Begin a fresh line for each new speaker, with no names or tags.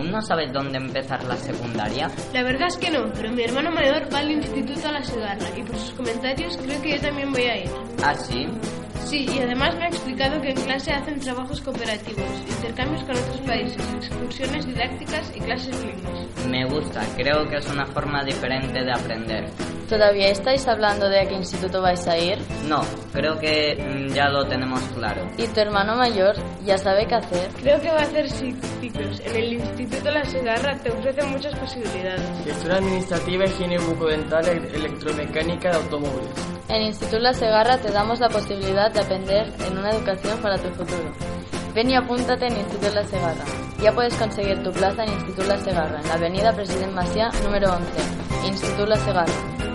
¿Aún no sabes dónde empezar la secundaria?
La verdad es que no, pero mi hermano mayor va al instituto a la Segarra y por sus comentarios creo que yo también voy a ir.
¿Ah, sí?
Sí, y además me ha explicado que en clase hacen trabajos cooperativos, intercambios con otros países, excursiones didácticas y clases libres.
Me gusta, creo que es una forma diferente de aprender.
¿Todavía estáis hablando de a qué instituto vais a ir?
No, creo que mm, ya lo tenemos claro.
¿Y tu hermano mayor ya sabe qué hacer?
Creo que va a hacer ciclos. En el instituto La Segarra te ofrece muchas posibilidades.
Gestora administrativa, higiene bucodental, e- electromecánica de automóviles.
En Instituto La Segarra te damos la posibilidad de aprender en una educación para tu futuro. Ven y apúntate en Instituto La Segarra. Ya puedes conseguir tu plaza en Instituto La Segarra, en la avenida Presidente Maciá, número 11. Instituto La Segarra.